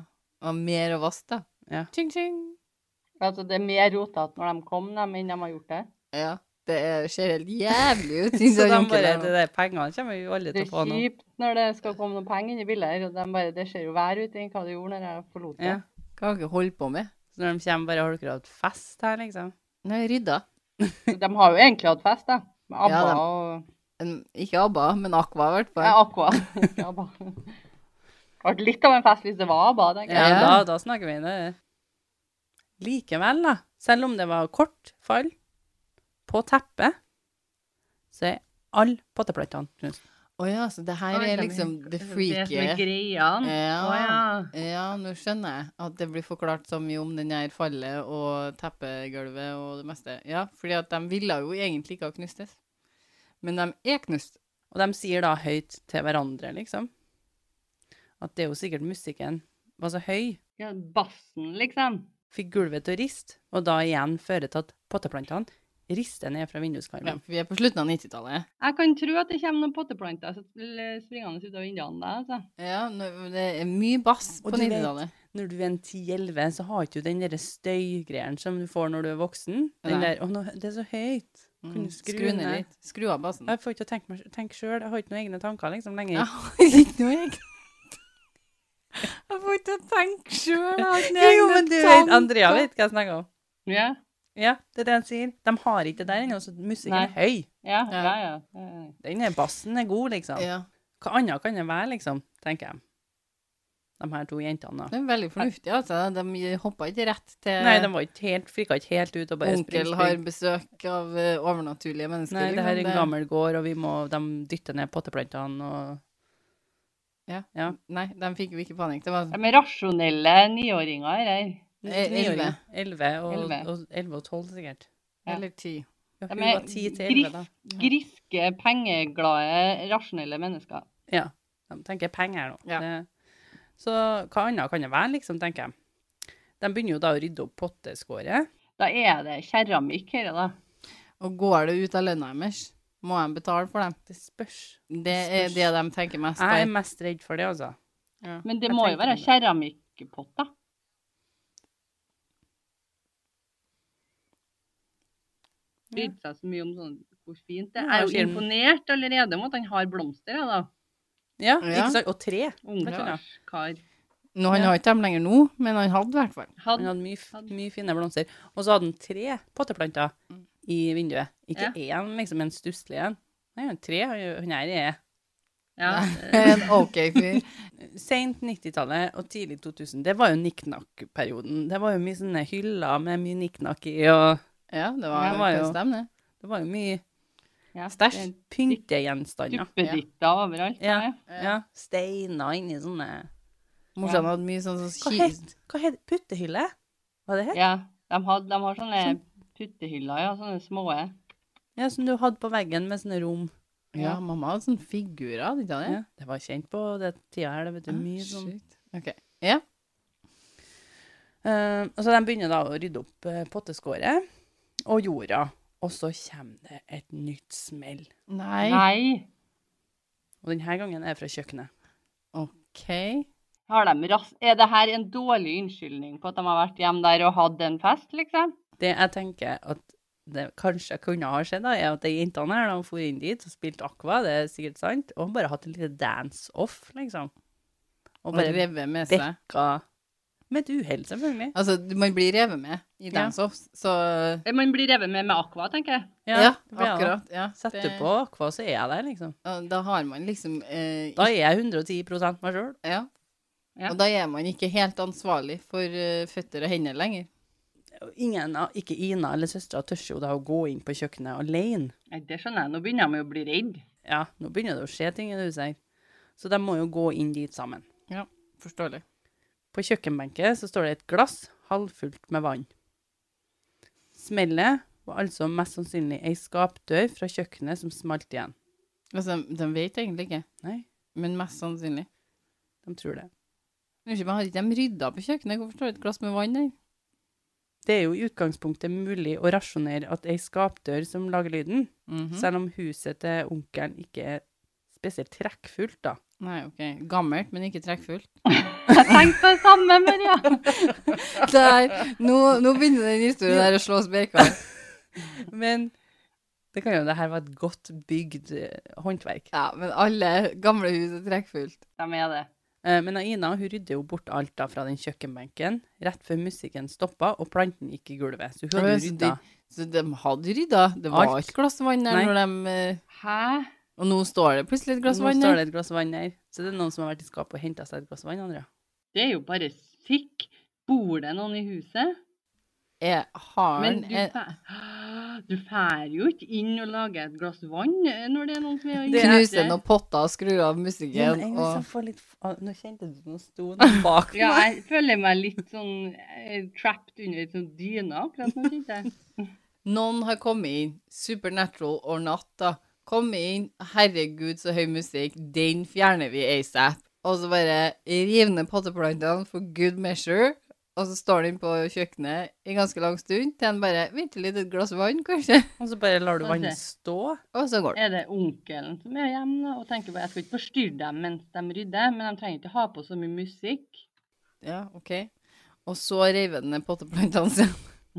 Speaker 1: Og mer å vaske, da.
Speaker 3: Ja.
Speaker 1: Tjing, tjing.
Speaker 2: Altså, det er mer rotete når de kom, dem, enn de har gjort det.
Speaker 1: Ja. Det er, ser helt jævlig ut.
Speaker 3: Så de
Speaker 1: runker
Speaker 3: bare,
Speaker 1: der nå.
Speaker 3: det der pengene kommer vi jo aldri
Speaker 2: Det
Speaker 3: til
Speaker 2: er
Speaker 3: å få nå.
Speaker 2: kjipt når det skal komme noen penger inn i bildet her, og de bare, det ser jo vær ut enn hva det gjorde når jeg forlot det.
Speaker 3: Ja.
Speaker 1: Hva har dere holdt på med?
Speaker 3: Så når de kommer, bare har dere hatt fest her, liksom.
Speaker 1: Nei, rydda.
Speaker 2: Så De har jo egentlig hatt fest, da. Med ABBA
Speaker 1: Ja, de-
Speaker 2: og
Speaker 1: En, ikke ABBA, men Aqua, i hvert fall.
Speaker 2: ja, Aqua. Ikke ABBA. Det ble litt av en fest hvis det var ABBA. tenker
Speaker 3: Ja,
Speaker 2: jeg.
Speaker 1: Ja.
Speaker 3: Da, da snakker vi det. Likevel, da, selv om det var kort fall på teppet, så er alle potteplantene knust.
Speaker 1: Å ja, så det her er liksom det
Speaker 2: Det som er
Speaker 1: freaky. Eh,
Speaker 2: greiene. Å ja.
Speaker 1: Ja. ja, nå skjønner jeg at det blir forklart så mye om den her fallet og teppegulvet og det meste. Ja, fordi at de ville jo egentlig ikke ha knustes. Men de er knust.
Speaker 3: Og de sier da høyt til hverandre, liksom, at det er jo sikkert musikken var så høy,
Speaker 2: ja. Bassen, liksom.
Speaker 3: fikk gulvet til å riste, og da igjen fører til at potteplantene rister ned fra
Speaker 1: Ja,
Speaker 3: vinduskarmen.
Speaker 1: for vi er på slutten av 90-tallet.
Speaker 2: Jeg kan tro at det kommer noen potteplanter som l- springende ut av vinduene der. Altså.
Speaker 1: Ja, nå- det er mye bass
Speaker 3: Og
Speaker 1: på
Speaker 3: du vet-
Speaker 1: 90-tallet.
Speaker 3: Når du er en 10-11, så har ikke du den der støygreien som du får når du er voksen. Den
Speaker 1: Nei.
Speaker 3: der, å, nå, det er så høyt. Kan
Speaker 1: Mm,
Speaker 3: du skru,
Speaker 1: Skru
Speaker 3: ned
Speaker 1: ned litt. Skru av bassen.
Speaker 3: Jeg får ikke tenke, meg, tenke selv. Jeg har ikke noen egne tanker liksom, lenger.
Speaker 1: Jeg har ikke noe eget Jeg får ikke tenke sjøl.
Speaker 3: Jo, men du vet, Andrea vet hva jeg snakker om.
Speaker 2: Ja,
Speaker 3: Ja, det er det han sier. De har ikke det der ennå, så musikken
Speaker 2: Nei.
Speaker 3: er høy.
Speaker 2: ja,
Speaker 1: Ja.
Speaker 2: ja. ja, ja.
Speaker 3: Den er bassen er god, liksom.
Speaker 1: Ja,
Speaker 3: Hva annet kan det være, liksom, tenker jeg. De her to jentene. da.
Speaker 1: det er veldig fornuftig, altså. De hoppa ikke rett til
Speaker 3: Nei, de var ikke helt, frika ikke helt ut og bare spring,
Speaker 1: onkel
Speaker 3: spring.
Speaker 1: har besøk av eh, overnaturlige mennesker.
Speaker 3: Nei, det
Speaker 1: liksom.
Speaker 3: her er en gammel gård, og vi må, de dytter ned potteplantene og
Speaker 1: Ja.
Speaker 3: ja.
Speaker 1: Nei, de fikk jo ikke panikk. Det var
Speaker 2: De er rasjonelle niåringer, eller?
Speaker 1: Eh,
Speaker 3: Niåringer. Elleve og,
Speaker 2: Elleve.
Speaker 3: og, elleve og tolv, sikkert.
Speaker 2: Ja.
Speaker 1: Eller ti.
Speaker 2: De
Speaker 3: Ja, hun
Speaker 2: er
Speaker 3: var ti til elleve, da.
Speaker 2: Griske, pengeglade, rasjonelle mennesker.
Speaker 3: Ja. De tenker penger nå.
Speaker 1: Ja.
Speaker 3: Det, så hva annet kan det være, liksom, tenker jeg. De begynner jo da å rydde opp potteskåret.
Speaker 2: Da er det keramikk her, da.
Speaker 1: Og går det ut av lønna deres, må de betale for dem.
Speaker 3: Det spørs.
Speaker 1: Det er det de tenker mest
Speaker 3: Jeg er
Speaker 1: på.
Speaker 3: mest redd for det, altså.
Speaker 1: Ja.
Speaker 2: Men det
Speaker 3: Jeg
Speaker 2: må jo
Speaker 3: tenkte
Speaker 2: være
Speaker 3: det.
Speaker 2: keramikkpotter. Brydde seg så mye om sånn, hvor fint det er. Jeg er jo
Speaker 3: Ja, altså, skjerm.
Speaker 2: imponert allerede om at han har blomster, jeg, da.
Speaker 3: Ja,
Speaker 1: Ja.
Speaker 3: ikke sant? Og tre.
Speaker 2: Ungkarskar.
Speaker 1: Nå, han har ikke dem lenger nå, men han hadde i hvert fall.
Speaker 3: Han
Speaker 2: Hadde
Speaker 3: hadde mye, f- mye Mm. fine blomster. Og så hadde han tre potteplanter i vinduet. Ikke én, liksom, en stusslig en. Nei, han har tre. Han- Han her er
Speaker 2: Ja.
Speaker 1: En OK fyr.
Speaker 3: Sent 90-tallet og tidlig 2000, det var jo nikk-nakk-perioden. Det var jo mye sånne hyller med mye nikk-nakk i, og
Speaker 1: Ja, det
Speaker 3: Ja,
Speaker 1: var,
Speaker 3: det var jo-
Speaker 1: pøs dem, det.
Speaker 3: det var jo mye
Speaker 2: ja.
Speaker 3: stæsj. Pyntegjenstander.
Speaker 2: Duppeditter overalt.
Speaker 3: Ja,
Speaker 2: Ja.
Speaker 3: ja. Steiner inni sånne
Speaker 1: Morsan hadde mye sånn sånn
Speaker 3: Hva
Speaker 1: ki-
Speaker 3: het hva het- Puttehylle? Var det het?
Speaker 2: ja. De, had, de har sånne
Speaker 3: Sånn.
Speaker 2: puttehyller, ja. Sånne små.
Speaker 3: Ja, som du hadde på veggen med sånne rom.
Speaker 1: Ja, mamma hadde sånne figurer, hadde ikke
Speaker 3: Ja.
Speaker 1: det?
Speaker 3: Det var kjent på den tida her, det vet du. Mye sånn.
Speaker 1: Shit. Ok. Ja.
Speaker 3: Eh, og så de begynner da å rydde opp eh, potteskåret og jorda. Og så kommer det et nytt smell.
Speaker 1: Nei.
Speaker 2: Nei.
Speaker 3: Og denne gangen er det fra kjøkkenet.
Speaker 1: OK.
Speaker 2: Har de ras er det her en dårlig unnskyldning på at de har vært hjemme der og hatt en fest, liksom?
Speaker 3: Det jeg tenker at det kanskje kunne ha skjedd, da, er at de jentene her de for inn dit og spilte Aqua, det er sikkert sant, og bare hatt en liten dance-off, liksom. Og
Speaker 1: Og
Speaker 3: bare
Speaker 1: revet med seg.
Speaker 3: bekka Med et uhell, selvfølgelig.
Speaker 1: Altså, du- man blir revet med i
Speaker 3: Ja.
Speaker 1: dance-offs, så
Speaker 2: Eh, Man blir revet med med aqua, tenker jeg.
Speaker 1: Ja,
Speaker 3: det blir jeg da.
Speaker 1: akkurat. Ja,
Speaker 3: Setter
Speaker 1: det-
Speaker 3: på Aqua, så er jeg der, liksom.
Speaker 1: Ja, Da har man liksom eh,
Speaker 3: Da er jeg 110 meg sjøl.
Speaker 1: ja.
Speaker 2: Ja.
Speaker 1: Og da er man ikke helt ansvarlig for eh, føtter og hender lenger.
Speaker 3: Ingen, av- ikke Ina eller søstera tør jo da å gå inn på kjøkkenet alene.
Speaker 2: Nei, det skjønner jeg. Nå begynner de jo å bli redd.
Speaker 3: Ja, nå begynner det å skje ting i det huset her. Så de må jo gå inn dit sammen.
Speaker 1: Ja, forståelig.
Speaker 3: På kjøkkenbenken så står det et glass halvfullt med vann. Smellet var altså mest sannsynlig ei skapdør fra kjøkkenet som smalt igjen.
Speaker 1: Altså, de vet egentlig ikke,
Speaker 3: Nei,
Speaker 1: men mest sannsynlig.
Speaker 3: de tror det.
Speaker 1: Unnskyld, men har ikke de rydda på kjøkkenet? Hvorfor står det et glass med vann der?
Speaker 3: Det er jo i utgangspunktet mulig å rasjonere at ei skapdør som lager lyden,
Speaker 1: Mhm.
Speaker 3: selv om huset til onkelen ikke er spesielt trekkfullt, da.
Speaker 1: Nei, ok. Gammelt, men ikke trekkfullt.
Speaker 2: Jeg tenkte det samme, Maria.
Speaker 1: Der, nå, nå begynner den historien der å slå spekene.
Speaker 3: Men det kan jo det her var et godt bygd eh, håndverk.
Speaker 1: Ja, men alle gamle hus er trekkfullt.
Speaker 2: De er det.
Speaker 3: Eh, Men Ina hun rydder jo bort alt da fra den kjøkkenbenken rett før musikken stoppa og planten gikk i gulvet. Så hun
Speaker 1: Ja,
Speaker 3: hadde
Speaker 1: så
Speaker 3: rydda.
Speaker 1: Så de hadde rydda. Det var
Speaker 3: Alt.
Speaker 1: ikke glass vann der
Speaker 3: Nei.
Speaker 1: når de eh,
Speaker 2: Hæ?
Speaker 1: Og nå står det plutselig et glass
Speaker 3: Nå
Speaker 1: vann der.
Speaker 3: står det et glass vann her. Så det er noen som har vært i skapet og henta seg et glass vann, Andrea.
Speaker 2: Det er jo bare sikk. Bor det noen i huset?
Speaker 1: Er haren
Speaker 2: Men du
Speaker 1: er-
Speaker 2: fær, du fær jo ikke inn og lager et glass vann eh, når det er noen som er
Speaker 3: Det er-
Speaker 1: Knuser noen potter og skrur av
Speaker 3: Ja, men
Speaker 1: musikken
Speaker 3: jeg vil så
Speaker 1: og
Speaker 3: få litt... ah, Nå kjente du noe sto noe bak
Speaker 2: Ja,
Speaker 3: meg.
Speaker 2: jeg føler meg litt sånn eh, trapped under et sånt dyne akkurat nå, kjente jeg.
Speaker 1: Noen har kommet inn. Supernatural or not, da. Komme inn. Herregud, så høy musikk. Den fjerner vi ASAP. Og så bare riv ned potteplantene for good measure. Og så står den på kjøkkenet i ganske lang stund til han bare venter litt et glass vann, kanskje.
Speaker 3: Og så bare lar du
Speaker 2: Sånn
Speaker 3: vannet
Speaker 2: det.
Speaker 3: stå.
Speaker 1: Og så går det.
Speaker 2: Er det onkelen som er hjemme da, og tenker på jeg skal ikke forstyrre dem mens de rydder, men de trenger ikke ha på så mye musikk?
Speaker 1: Ja, OK. Og så reiv han ned potteplantene sine.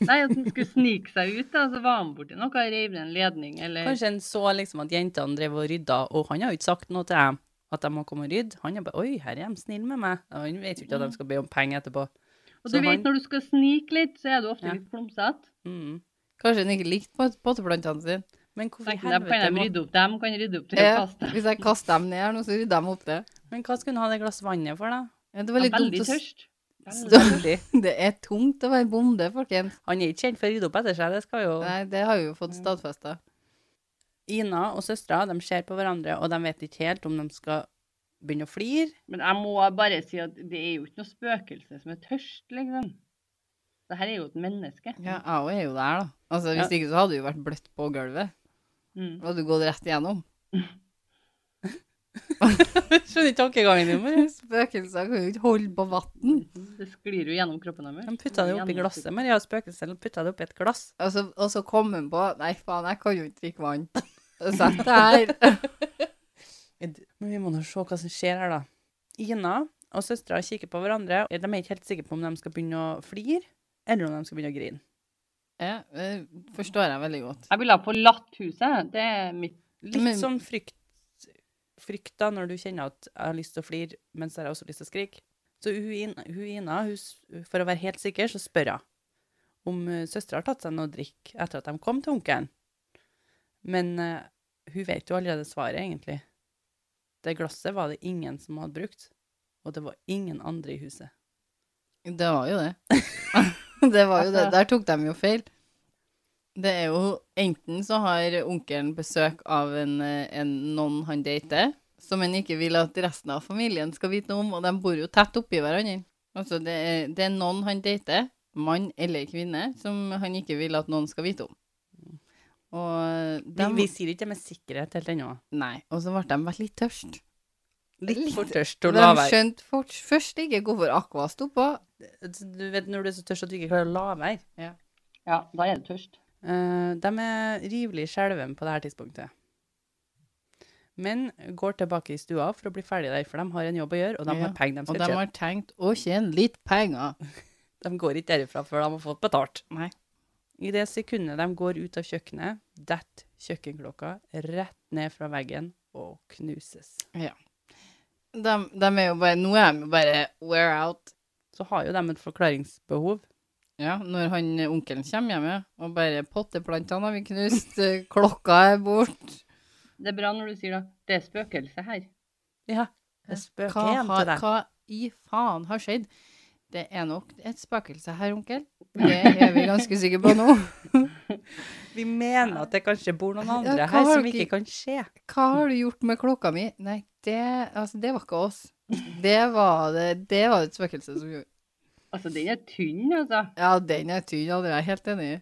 Speaker 2: Nei, at han skulle snike seg ut, da, så var han borti noe og reiv ned en ledning, eller
Speaker 3: Kanskje han så liksom at jentene drev og rydda, og han har jo ikke sagt noe til dem at de må komme og rydde. Han er bare 'oi, her er de snille med meg'. Og han vet jo ikke at de skal be om penger etterpå.
Speaker 2: Mm. Og
Speaker 3: Så
Speaker 2: du vet,
Speaker 3: han-
Speaker 2: når du skal snike litt, så er du ofte
Speaker 3: Ja.
Speaker 2: litt klumsete.
Speaker 3: Mm.
Speaker 1: Kanskje han ikke likte pot- potteplantene sine.
Speaker 3: Men hvorfor i
Speaker 2: Tenker de, Kan
Speaker 3: helvete
Speaker 2: de
Speaker 3: må...
Speaker 2: rydde opp dem? Kan de rydde opp til
Speaker 1: Ja,
Speaker 2: pasta?
Speaker 1: hvis jeg kaster dem ned her nå, så rydder de opp det.
Speaker 3: Men hva skulle han ha det glass vannet for, da?
Speaker 1: Ja, det
Speaker 2: De
Speaker 1: var
Speaker 2: er
Speaker 1: litt dumt
Speaker 2: veldig
Speaker 1: å s-
Speaker 2: tørst.
Speaker 1: stå-
Speaker 2: Veldig.
Speaker 3: Veldig.
Speaker 1: Det er tungt å være bonde, folkens.
Speaker 3: Han er ikke kjent for å rydde opp etter seg, det skal jo
Speaker 1: Nei, det har vi jo fått stadfesta.
Speaker 3: Ina og søstera de ser på hverandre, og de vet ikke helt om de skal begynne å flire.
Speaker 2: Men jeg må bare si at det er jo ikke noe spøkelse som er tørst, liksom. Det her er jo et menneske.
Speaker 1: Ja, jeg òg er jo der, da. Altså, Hvis
Speaker 3: Ja.
Speaker 1: ikke så hadde du jo vært bløtt på gulvet.
Speaker 2: Mm.
Speaker 1: Da hadde du gått rett igjennom.
Speaker 3: Skjønner ikke tankegangen din. Maria.
Speaker 1: Spøkelser kan jo ikke holde på vann.
Speaker 2: Det sklir jo gjennom kroppen
Speaker 3: De
Speaker 2: deres.
Speaker 3: putta det oppi glasset, men ja, spøkelset putta det oppi et glass.
Speaker 1: Og så, Altså, og så kom han på Nei, faen, jeg kan jo ikke drikke vann. Sett deg her.
Speaker 3: Men vi må nå se hva som skjer her, da. Ina og søstera kikker på hverandre. De er ikke helt sikre på om de skal begynne å flire, eller om de skal begynne å grine.
Speaker 1: Ja, det forstår jeg veldig godt.
Speaker 2: Jeg ville ha forlatt huset. Det er mitt
Speaker 3: Litt
Speaker 1: Men-
Speaker 3: sånn frykt, frykt da, når du kjenner at jeg har lyst til å flire, men så har jeg også lyst til å skrike. Så hun, Ina- hun Ina, hun, s- for å være helt sikker, så spør hun om eh, søstera har tatt seg noe å drikke etter at de kom til onkelen. Men eh, hun vet jo allerede svaret, egentlig. Det glasset var det ingen som hadde brukt, og det var ingen andre i huset.
Speaker 1: Det var jo det. det var jo det. Der tok de jo feil. Det er jo enten så har onkelen besøk av en, eh, en noen han dater, som han ikke vil at resten av familien skal vite noe om, og de bor jo tett oppi hverandre. Altså, det er, det er noen han dater, mann eller kvinne, som han ikke vil at noen skal vite om. Og
Speaker 3: Vi,
Speaker 1: de,
Speaker 3: vi sier ikke det med sikkerhet helt ennå.
Speaker 1: nei, og så ble de veldig tørst.
Speaker 3: Litt
Speaker 1: Litt.
Speaker 3: for tørst
Speaker 1: De
Speaker 3: til å la være.
Speaker 1: skjønte fort, først ikke hvorfor Aqua sto på.
Speaker 3: Du vet når du er så tørst at du ikke klarer å la være.
Speaker 2: Ja, da er det tørst.
Speaker 3: Eh, de er rivelig skjelven på dette tidspunktet. Men går tilbake i stua for å bli ferdig der, for de har en jobb å gjøre, og de
Speaker 1: Ja,
Speaker 3: har penger de
Speaker 1: Og
Speaker 3: skal
Speaker 1: de
Speaker 3: tjene.
Speaker 1: har tenkt å tjene litt penger.
Speaker 3: De går ikke derifra før de har fått betalt.
Speaker 1: Nei.
Speaker 3: I det sekundet de går ut av kjøkkenet, detter kjøkkenklokka rett ned fra veggen og knuses.
Speaker 1: De, de er jo bare, nå er de jo bare wear out.
Speaker 3: Så har jo de et forklaringsbehov.
Speaker 1: Ja, når han, onkelen kommer hjemme og bare potteplantene har vi knust, eh, klokka er bort.
Speaker 2: Det er bra når du sier da, det er spøkelse her.
Speaker 3: Ja, det
Speaker 1: Hva,
Speaker 3: spøker hjem
Speaker 1: har,
Speaker 3: til deg.
Speaker 1: hva i faen har skjedd? Det er nok et spøkelse her, onkel. Det er vi ganske sikre på nå.
Speaker 3: Vi mener at det kanskje bor noen
Speaker 1: Ja,
Speaker 3: andre
Speaker 1: hva
Speaker 3: her
Speaker 1: har
Speaker 3: som
Speaker 1: dere-
Speaker 3: ikke kan se.
Speaker 1: Hva har du gjort med klokka mi? Nei, det, altså, det var ikke oss. Det var det, det var et spøkelse som gjorde.
Speaker 2: Altså, den er tynn, altså.
Speaker 1: Ja, den er tynn, ja, det er jeg helt enig i.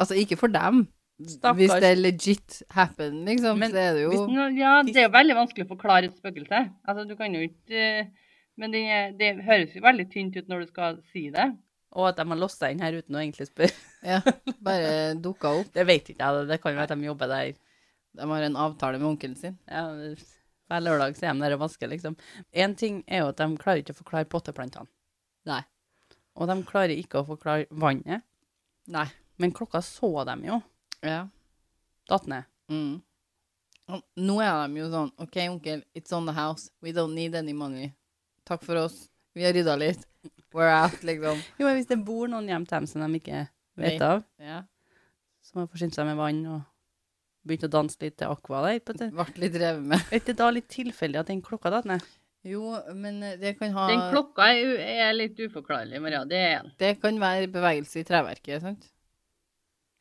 Speaker 1: Altså, ikke for dem. Hvis det
Speaker 3: Stakkars.
Speaker 1: er legit happen, liksom,
Speaker 3: Men
Speaker 1: så er det jo
Speaker 3: hvis
Speaker 2: Nå, ja, det er jo veldig vanskelig å forklare et spøkelse. Altså, du kan jo ikke eh, Men den er, det høres jo veldig tynt ut når du skal si det.
Speaker 3: Og at de har låst seg inn her uten å egentlig spørre.
Speaker 1: ja, bare dukka opp.
Speaker 3: Det vet ikke jeg, det kan jo være at de jobber der.
Speaker 1: De har en avtale med onkelen sin.
Speaker 3: Ja, hver lørdag så er de der og vasker, liksom. En ting er jo at de klarer ikke å forklare potteplantene.
Speaker 1: Nei.
Speaker 3: Og de klarer ikke å forklare vannet.
Speaker 1: Nei.
Speaker 3: Men klokka så dem jo.
Speaker 1: Ja.
Speaker 3: Datt ned.
Speaker 1: Mm. Og Nå er de jo sånn OK, onkel, it's on the house. We don't need any money. Takk for oss. Vi har rydda litt. We're out, liksom.
Speaker 3: Jo, men hvis det bor noen hjemme til dem som de ikke vet
Speaker 1: Nei.
Speaker 3: av,
Speaker 1: Ja.
Speaker 3: som har forsynt seg med vann og begynt å danse litt til aqua der, på det.
Speaker 1: Vart litt revet med.
Speaker 3: er det da litt tilfeldig at den klokka datt ned?
Speaker 1: Jo, men eh, det kan ha
Speaker 2: Den klokka er, u- er litt uforklarlig, Maria. Det er den.
Speaker 1: Det kan være bevegelse i treverket, sant?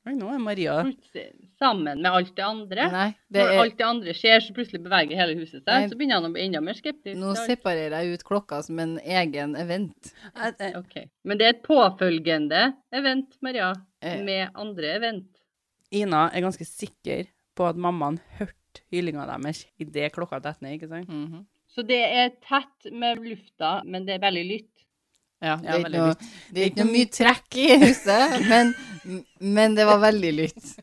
Speaker 3: Oi, nå er Maria
Speaker 2: Plutselig, Sammen med alt det andre.
Speaker 1: Nei. Det
Speaker 2: Når
Speaker 1: er,
Speaker 2: alt det andre skjer, så plutselig beveger hele huset
Speaker 1: Nei.
Speaker 2: seg. Så begynner han å bli enda mer skeptisk.
Speaker 1: nå
Speaker 2: til alt.
Speaker 1: separerer jeg ut klokka som en egen event.
Speaker 3: Jeg- jeg-
Speaker 2: Ok. Men det er et påfølgende event, Maria.
Speaker 1: Eh.
Speaker 2: Med andre event.
Speaker 3: Ina er ganske sikker på at mammaen hørte hylinga deres idet klokka datt ned, ikke sant?
Speaker 1: Mhm.
Speaker 2: Så det er tett med lufta, men det er veldig lytt.
Speaker 1: Ja, det
Speaker 3: Ja,
Speaker 1: er ikke
Speaker 3: veldig
Speaker 1: noe, det er ikke noe mye trekk i huset, men, men det var veldig lytt.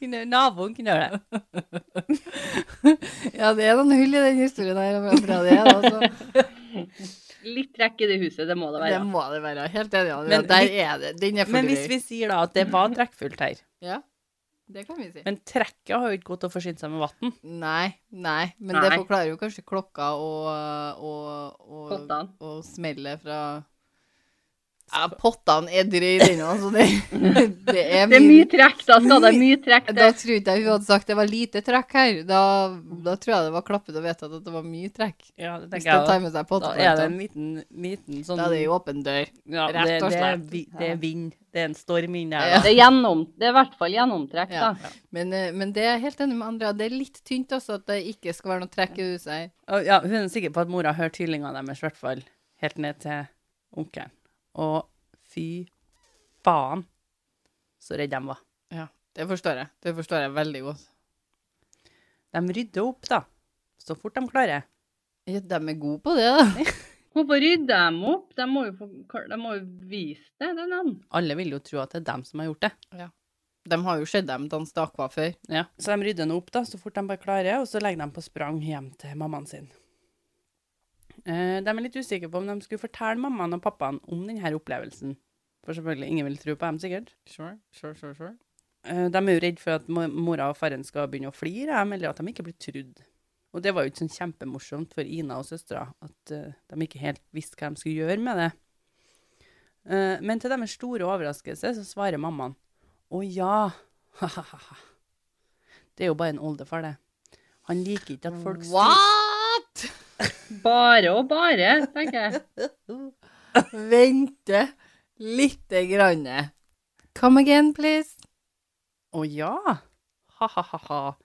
Speaker 3: Kunne- Naboen kunne gjøre det.
Speaker 1: Ja, det er noen hull i den historien her. Fra det, altså.
Speaker 2: Litt trekk i det huset, det må det
Speaker 1: Det
Speaker 2: være.
Speaker 1: må det være. Helt enig. Andrea.
Speaker 3: Men
Speaker 1: der
Speaker 3: vi-
Speaker 1: er det. Den er for
Speaker 3: Men hvis
Speaker 1: drøy.
Speaker 3: vi sier da at det var trekkfullt her
Speaker 1: Ja, det kan vi si.
Speaker 3: Men trekket har jo ikke gått til å forsyne seg med vann.
Speaker 1: Nei, nei. Men det
Speaker 2: Nei.
Speaker 1: forklarer jo kanskje klokka og, og, og,
Speaker 2: Pottene.
Speaker 1: og smellet fra ja, Pottene er drøy, den òg, så det, det er
Speaker 2: Det er mye trekk, da skal det mye trekk
Speaker 1: Da
Speaker 2: til.
Speaker 1: tror ikke jeg hun hadde sagt det var lite trekk her. Da, da tror jeg det var klappet og vedtatt at det var mye trekk.
Speaker 3: Ja, det
Speaker 1: Hvis de tar med seg
Speaker 3: Da er det en
Speaker 1: potteplantene.
Speaker 3: liten, liten sånn
Speaker 1: Da er det jo åpen dør.
Speaker 3: ja,
Speaker 1: rett
Speaker 3: det-
Speaker 1: og
Speaker 3: Det, er
Speaker 1: slett.
Speaker 3: vi- det er vind. Det er en storm inni
Speaker 1: Ja.
Speaker 3: her. da.
Speaker 2: Det er, gjennom, det er i hvert fall gjennomtrekk,
Speaker 1: Ja.
Speaker 2: da.
Speaker 1: Men, eh, men det er jeg helt enig med Andrea. Det er litt tynt også at det ikke skal være noe trekk i huset her.
Speaker 3: Og Ja, hun er sikker på at mora hørte hyllinga deres, i hvert fall helt ned til onkelen. Og fy faen så redde de var.
Speaker 1: Det forstår jeg. Det forstår jeg veldig godt.
Speaker 3: De rydder opp, da. Så fort de klarer.
Speaker 1: Ja, de er gode på det, da.
Speaker 2: Hvorfor rydder de opp? De må jo, få- de må jo vise det, det er dem.
Speaker 3: Alle vil jo tro at det er dem som har gjort det.
Speaker 1: De har jo sett dem danse aqua før.
Speaker 3: Ja. Så de rydder nå opp da, så fort de bare klarer, og så legger de på sprang hjem til mammaen sin. Eh, De er litt usikre på om de skulle fortelle mammaen og pappaen om denne opplevelsen. For selvfølgelig, ingen vil tro på dem sikkert.
Speaker 1: Sure, sure, sure, sure.
Speaker 3: Eh, De er jo redd for at mo- mora og faren skal begynne å flire, dem, eller at de ikke blir trudd. Og det var jo ikke sånn kjempemorsomt for Ina og søstera, at eh, de ikke helt visste hva de skulle gjøre med det. Eh, Men til deres store overraskelse så svarer mammaen, å ja, ha-ha-ha. Det er jo bare en oldefar, det. Han liker ikke at folk
Speaker 1: What?!
Speaker 2: Bare og bare, tenker jeg.
Speaker 1: Vente lite grann. Come again, please.
Speaker 3: Å ja, ha-ha-ha.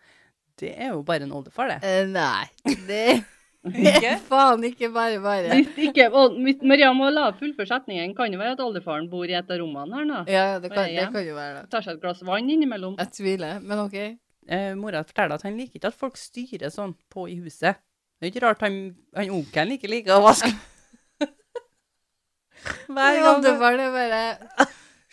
Speaker 3: Det er jo bare en oldefar, det.
Speaker 1: Eh, nei. Det
Speaker 3: Ikke?
Speaker 1: er faen ikke bare bare.
Speaker 2: Hvis ikke, og hvis Maria må la fullføre setningen. Kan jo være at oldefaren bor i et av rommene her nå.
Speaker 1: Ja, det kan,
Speaker 2: Bare
Speaker 1: det
Speaker 2: igjen.
Speaker 1: kan jo være det.
Speaker 2: Tar seg et glass vann innimellom.
Speaker 1: Jeg tviler, men OK.
Speaker 3: eh, mora forteller at han liker ikke at folk styrer sånn på i huset. Det er ikke rart han, han onkelen ikke liker å vaske. Hver
Speaker 1: Hver
Speaker 3: gang
Speaker 1: gang var det bare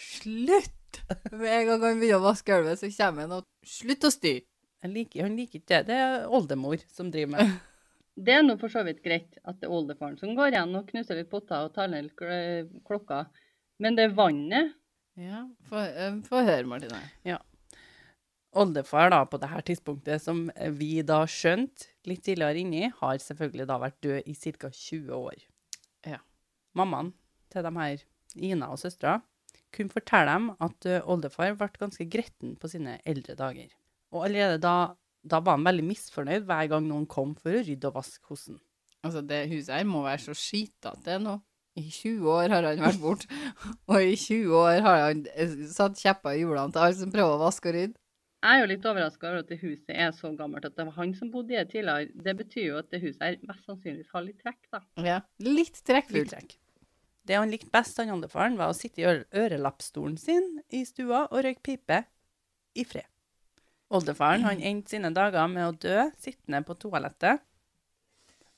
Speaker 1: Slutt! Med en gang han begynner å vaske gulvet, så kommer han og Slutt å styre!
Speaker 3: han liker, han liker ikke det. Det er oldemor som driver med det.
Speaker 2: Det er nå for så vidt greit at det er oldefaren som går igjen og knuser litt potter og tar ned litt kl- eh, klokka. Men det vannet
Speaker 1: Ja, få eh, få høre, Martine.
Speaker 3: Oldefar da, på det her tidspunktet, som vi da skjønte litt tidligere inni, har selvfølgelig da vært død i ca. 20 år.
Speaker 1: Ja.
Speaker 3: Mammaen til de her, Ina og søstera, kunne fortelle dem at ø, oldefar ble ganske gretten på sine eldre dager. Og allerede da, da var han veldig misfornøyd hver gang noen kom for å rydde og vaske hos han.
Speaker 1: Altså, det huset her må være så skitete nå. I 20 år har han vært borte, og i 20 år har han eh, satt kjepper i hjulene til alle som prøver å vaske og rydde.
Speaker 2: Jeg er jo litt overraska over at det huset er så gammelt at det var han som bodde i det tidligere. Det betyr jo at det huset her mest sannsynligvis har litt trekk, da.
Speaker 1: Ja. Litt trekkfullt.
Speaker 3: Fulltrekk. Det han likte best, han oldefaren, var å sitte i øre- ørelappstolen sin i stua og røyke pipe i fred. Oldefaren han endte sine dager med å dø sittende på toalettet.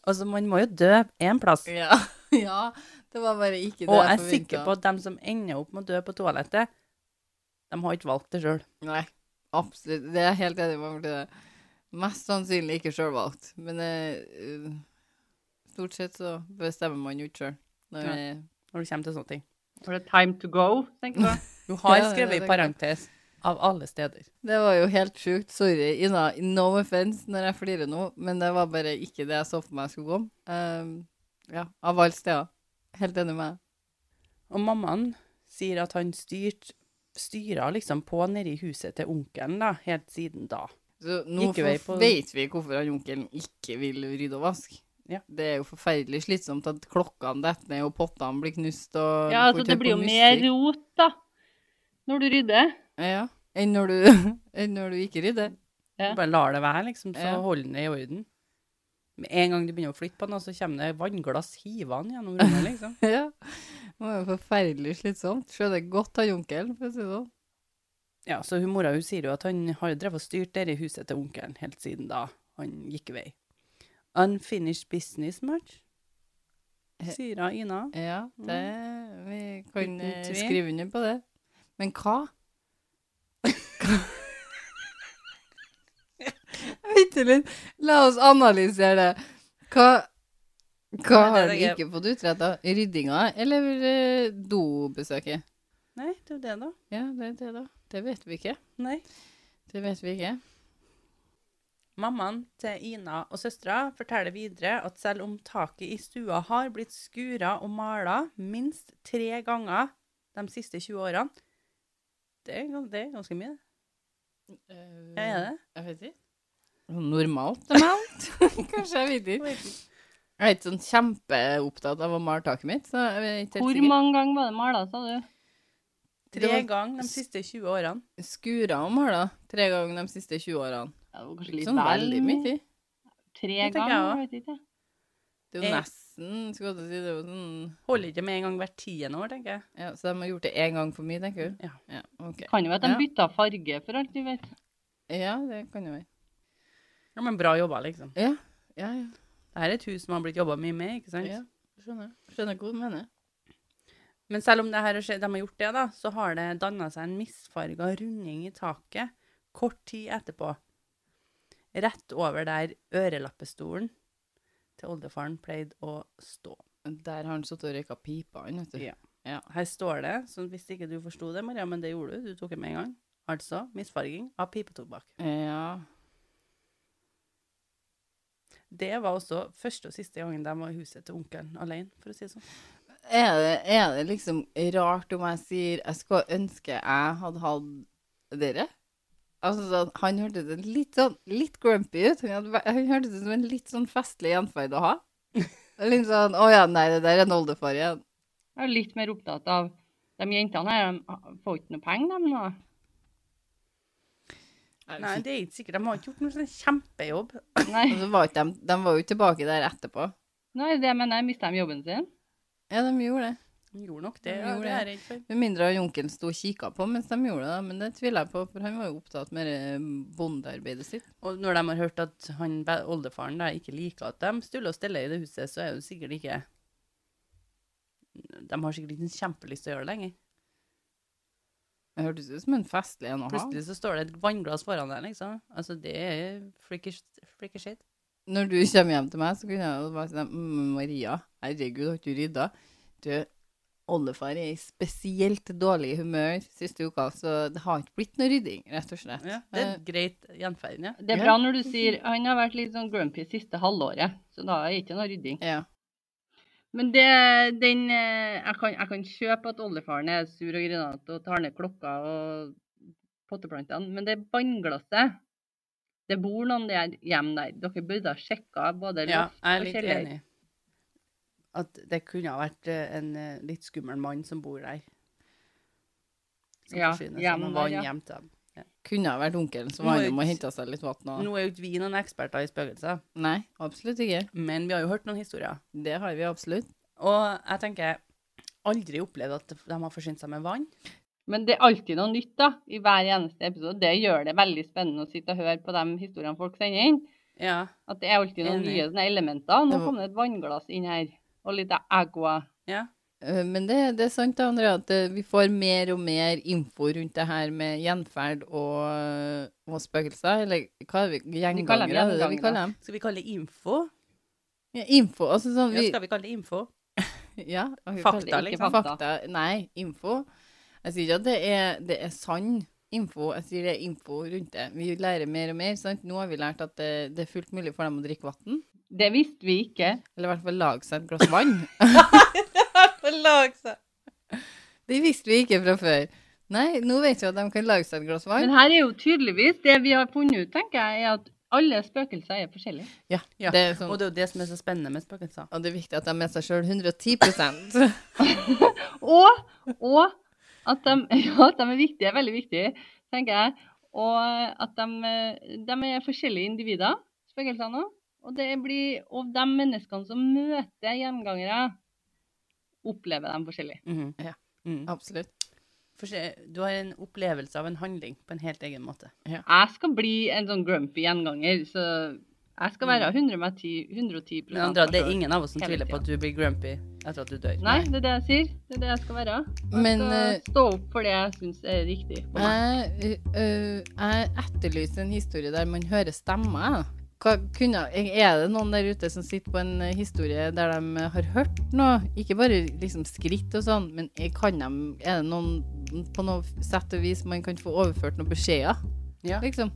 Speaker 3: Altså, man må jo dø én plass.
Speaker 1: Ja. ja. Det var bare ikke det
Speaker 3: Og jeg er
Speaker 1: forventet.
Speaker 3: sikker på at de som ender opp med å dø på toalettet, de har ikke valgt det sjøl.
Speaker 1: Nei, absolutt. Det er jeg helt enig med Martine. Mest sannsynlig ikke sjølvalgt. Men eh, eh, stort sett så bestemmer man jo ikke sjøl.
Speaker 3: Nei. Når det kommer til sånne ting.
Speaker 2: For det er time to go, tenker jeg.
Speaker 3: Du
Speaker 1: Ja,
Speaker 3: har
Speaker 1: det er
Speaker 3: skrevet
Speaker 1: det.
Speaker 3: i parentes av alle steder.
Speaker 1: Det var jo helt sjukt. Sorry, Ina. No offense når jeg flirer nå, men det var bare ikke det jeg så for meg skulle komme. Ehm, ja, av alle steder. Helt enig med deg.
Speaker 3: Og mammaen sier at han styrt, styra liksom på nede i huset til onkelen da, helt siden da.
Speaker 1: Så nå
Speaker 3: Gikk jo jeg
Speaker 1: for-
Speaker 3: på-
Speaker 1: vet vi hvorfor han onkelen ikke vil rydde og vaske.
Speaker 3: Ja.
Speaker 1: Det er jo forferdelig slitsomt at klokkene detter ned, og pottene blir knust, og
Speaker 2: Ja,
Speaker 1: du
Speaker 2: altså
Speaker 1: får
Speaker 2: det
Speaker 1: tur
Speaker 2: blir jo
Speaker 1: på
Speaker 2: mer
Speaker 1: mystikk.
Speaker 2: rot, da. Når du rydder.
Speaker 1: Ja, enn når du, enn når du ikke rydder.
Speaker 2: Ja.
Speaker 3: Bare lar det være, liksom, så
Speaker 1: Ja.
Speaker 3: holder han det i orden. Med en gang du begynner å flytte på den, altså, så kommer det vannglass hivende gjennom rommet, liksom.
Speaker 1: ja. Det var jo forferdelig slitsomt. Skjønner godt av onkelen, for å si det sånn.
Speaker 3: Ja, så hun, mora hun sier jo at han har jo drevet og styrt der i huset til onkelen helt siden da han gikk vei. Unfinished business much, sier hun, Ina.
Speaker 1: Ja, det, vi kan
Speaker 3: Uten
Speaker 1: eh,
Speaker 3: tvil.
Speaker 1: skrive under på det. Men hva? Hva? Vent litt. La oss analysere det. Hva, hva
Speaker 3: Nei,
Speaker 1: har
Speaker 3: det
Speaker 1: du
Speaker 3: er
Speaker 1: ikke fått utretta? Ryddinga eller eh, dobesøket?
Speaker 3: Nei, det er jo det da.
Speaker 1: Ja, det er det, da. Det vet vi ikke.
Speaker 3: Nei.
Speaker 1: Det vet vi ikke.
Speaker 3: Mammaen til Ina og søstera forteller videre at selv om taket i stua har blitt skura og mala minst tre ganger de siste 20 årene Det er, gans- det er ganske mye. Ja, er det?
Speaker 1: Jeg vet ikke. Sånn Normalt amount? Kanskje, jeg vet ikke. Jeg er ikke sånn kjempeopptatt av å male taket mitt. så jeg er ikke helt
Speaker 2: Hvor
Speaker 1: sikker.
Speaker 2: mange ganger var det mala, sa du?
Speaker 1: Det
Speaker 3: Tre
Speaker 1: var-
Speaker 3: ganger de siste 20 årene.
Speaker 1: Skura og mala tre ganger de siste 20 årene.
Speaker 2: Ja, det var kanskje
Speaker 1: Ikke
Speaker 2: litt
Speaker 1: sånn
Speaker 2: vel
Speaker 1: veldig mye tid.
Speaker 2: Tre
Speaker 3: Det tenker jeg
Speaker 2: ganger,
Speaker 3: også.
Speaker 2: jeg vet ikke.
Speaker 1: Det er jo
Speaker 3: Eh.
Speaker 1: nesten skulle jeg til å si, det er jo sånn,
Speaker 3: Holder ikke med en gang hvert tiende år, tenker jeg.
Speaker 1: ja, Så de har gjort det én gang for mye, tenker du?
Speaker 3: Ja.
Speaker 1: Ja, ok.
Speaker 2: Kan jo være at de
Speaker 1: Ja.
Speaker 2: bytta farge, for alt vi vet.
Speaker 1: ja det kan jo være.
Speaker 3: Ja, men bra jobba, liksom.
Speaker 1: Ja, ja, ja.
Speaker 3: Dette er et hus som har blitt jobba mye med, ikke sant?
Speaker 1: ja. Skjønner. Skjønner hva du mener.
Speaker 3: Men selv om det her, har skjedd- de har gjort det, da, så har det danna seg en misfarga runding i taket kort tid etterpå. Rett over der ørelappestolen til oldefaren pleide å stå.
Speaker 1: Der har han sittet og røyka pipa, han, vet du.
Speaker 3: Ja. Her står det, så hvis ikke du forsto det, Maria, men det gjorde du, du tok det med en gang. Altså misfarging av pipetobakk.
Speaker 1: Ja.
Speaker 3: Det var også første og siste gangen de var i huset til onkelen alene, for å si det sånn.
Speaker 1: Er det, er det liksom rart om jeg sier jeg skulle ønske jeg hadde hatt dere? Altså, sånn, han hørtes en litt sånn litt grumpy ut. Han, hadde, væ- han hørtes ut som en litt sånn festlig gjenferd å ha. Litt sånn Å ja, nei, det der er en oldefar igjen.
Speaker 2: Jeg er litt mer opptatt av de jentene her, de får ikke noe penger, de nå.
Speaker 3: Nei, det er ikke sikkert. De har ikke gjort noen sånn kjempejobb.
Speaker 2: Nei,
Speaker 1: Altså, var ikke de, de var jo tilbake der etterpå.
Speaker 2: Nei det mener jeg. Mista de jobben sin?
Speaker 1: Ja, de gjorde det.
Speaker 3: De gjorde nok det.
Speaker 1: De
Speaker 3: Ja,
Speaker 1: gjorde
Speaker 3: det er
Speaker 1: det.
Speaker 3: jeg redd for.
Speaker 1: Med mindre han onkelen sto og kikka på mens de gjorde det, da. men det tviler jeg på, for han var jo opptatt med eh, bondearbeidet sitt.
Speaker 3: Og når de har hørt at han, be- oldefaren da, ikke liker at de stuller og steller i det huset, så er det sikkert ikke De har sikkert ikke kjempelyst til å gjøre det lenger.
Speaker 1: Det hørtes ut som en festlig en å ha.
Speaker 3: Plutselig så står det et vannglass foran deg, liksom. Altså, det er freaky, freaky shit.
Speaker 1: når du kommer hjem til meg, så kunne jeg jo bare si deg, «Mm, Maria, herregud, har ikke du rydda? Du, oldefar er i spesielt dårlig humør siste uka, så det har ikke blitt noe rydding, rett og slett. Eh,
Speaker 3: Ja, det er et greit gjenferd, ja.
Speaker 2: Eh, Det er
Speaker 1: Ja.
Speaker 2: bra når du sier han har vært litt sånn grumpy siste halvåret, så da er det ikke noe rydding.
Speaker 1: Eh, ja.
Speaker 2: Men det, den eh, jeg kan, jeg kan kjøpe at oldefaren er sur og grinete og tar ned klokka og potteplantene, men det vannglasset Det bor noen der hjemme der. Dere burde ha sjekka både
Speaker 3: ja
Speaker 2: loft
Speaker 3: jeg er
Speaker 2: og
Speaker 3: litt
Speaker 2: kjeller.
Speaker 3: enig. At det kunne ha vært eh, en eh, litt skummel mann som bor der. Som
Speaker 2: Ja,
Speaker 3: forsyner seg
Speaker 2: hjemme
Speaker 3: med
Speaker 2: der,
Speaker 3: vann
Speaker 2: ja.
Speaker 3: hjem til dem.
Speaker 1: Kunne ha vært onkelen som
Speaker 3: Nå
Speaker 1: var
Speaker 3: er
Speaker 1: innom og
Speaker 3: ikke-
Speaker 1: henta seg litt vann. Og...
Speaker 3: Nå er jo ikke vi noen eksperter i spøkelser,
Speaker 1: Nei, absolutt ikke.
Speaker 3: men vi har jo hørt noen historier.
Speaker 1: Det har vi absolutt.
Speaker 3: Og jeg tenker aldri opplevd at de har forsynt seg med vann.
Speaker 2: Men det er alltid noe nytt da, i hver eneste episode. Det gjør det veldig spennende å sitte og høre på de historiene folk sender inn.
Speaker 3: Ja.
Speaker 2: At det er alltid noen
Speaker 3: Enig.
Speaker 2: nye sånne elementer. Nå
Speaker 1: Det var-
Speaker 2: kom det et vannglass inn her, og litt agua.
Speaker 3: ja.
Speaker 1: Eh, Men det, det er sant, da, Andrea, at eh, vi får mer og mer info rundt det her med gjenferd og, eh, og spøkelser. Eller hva er vi? Gjengangere? er det det vi
Speaker 2: gjengangere.
Speaker 1: kaller dem?
Speaker 3: Skal vi kalle det info?
Speaker 1: Ja, info. Altså sånn
Speaker 3: Ja,
Speaker 1: vi
Speaker 3: skal vi kalle det info?
Speaker 1: Ja, og vi
Speaker 3: Fakta,
Speaker 1: kaller det ikke
Speaker 2: liksom.
Speaker 1: Fakta. Nei, info. Jeg sier ikke at det er, det er sann info, jeg sier det er info rundt det. Vi lærer mer og mer. sant? Nå har vi lært at det, det er fullt mulig for dem å drikke vann.
Speaker 2: Det visste vi ikke.
Speaker 1: Eller i hvert fall lage seg et glass vann. Det visste vi ikke fra før. Nei, nå vet vi at de kan lage seg et glass vann.
Speaker 2: Men her er jo tydeligvis det vi har funnet ut, tenker jeg, er at alle spøkelser er forskjellige.
Speaker 1: Ja,
Speaker 3: Ja,
Speaker 1: Det er sånn,
Speaker 3: Og det er jo det som er så spennende med spøkelser.
Speaker 1: og det er viktig at de er med seg sjøl 110
Speaker 2: Og, og at, de, ja, at de er viktige, veldig viktige, tenker jeg. Og at de, de er forskjellige individer, spøkelsene òg. Og, det blir- og de menneskene som møter gjengangere, opplever dem forskjellig.
Speaker 3: Mhm.
Speaker 1: Ja.
Speaker 3: Mhm.
Speaker 1: Absolutt.
Speaker 3: Forse- Du har en opplevelse av en handling på en helt egen måte.
Speaker 2: Jeg skal bli en sånn grumpy gjenganger, så jeg skal være 110, 110
Speaker 3: Mm. Men Andrea, det er
Speaker 2: meg selv.
Speaker 3: ingen av oss som
Speaker 2: Hele
Speaker 3: tviler på at du blir grumpy etter at du dør.
Speaker 2: Nei, det er det jeg sier. Det er det jeg skal være. Jeg
Speaker 1: Men, eh,
Speaker 2: skal stå opp for det jeg syns er riktig. for meg.
Speaker 1: Jeg, ø, ø, jeg etterlyser en historie der man hører stemmer. jeg. Hva, kunne, er det noen der ute som sitter på en ø, historie der de har hørt noe? Ikke bare liksom skritt og sånn, men er- kan de, er det noen på noe sett og vis man kan få overført noen beskjeder?
Speaker 3: Ja.
Speaker 1: Liksom.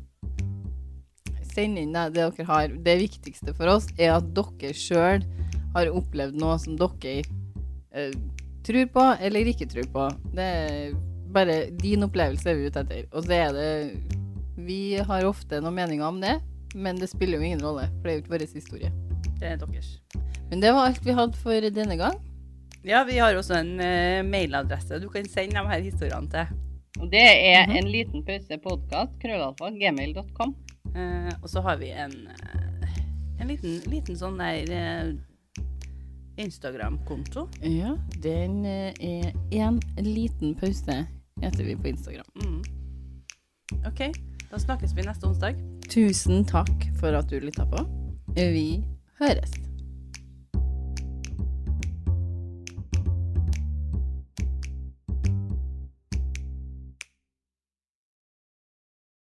Speaker 1: Send inn det det dere har. Det viktigste for oss er at dere sjøl har opplevd noe som dere ø, tror på eller ikke tror på. Det er bare din opplevelse er vi ute etter. Og så er det Vi har ofte noen meninger om det, men det spiller jo ingen rolle, for det er jo ikke vår historie.
Speaker 3: Det er deres.
Speaker 1: Men det var alt vi hadde for denne gang.
Speaker 3: Ja, vi har også en eh, mailadresse du kan sende de her historiene til.
Speaker 2: Og det er
Speaker 3: Mhm.
Speaker 2: en liten pause podkast, krøllalfa, gmail.com.
Speaker 3: Eh, og så har vi en, eh, en liten, liten sånn der eh, Instagram-konto.
Speaker 1: Ja, den eh, er én liten pause, heter vi på Instagram.
Speaker 3: Mhm. OK, da snakkes vi neste onsdag.
Speaker 1: Tusen takk for at du lytta på. Vi høres.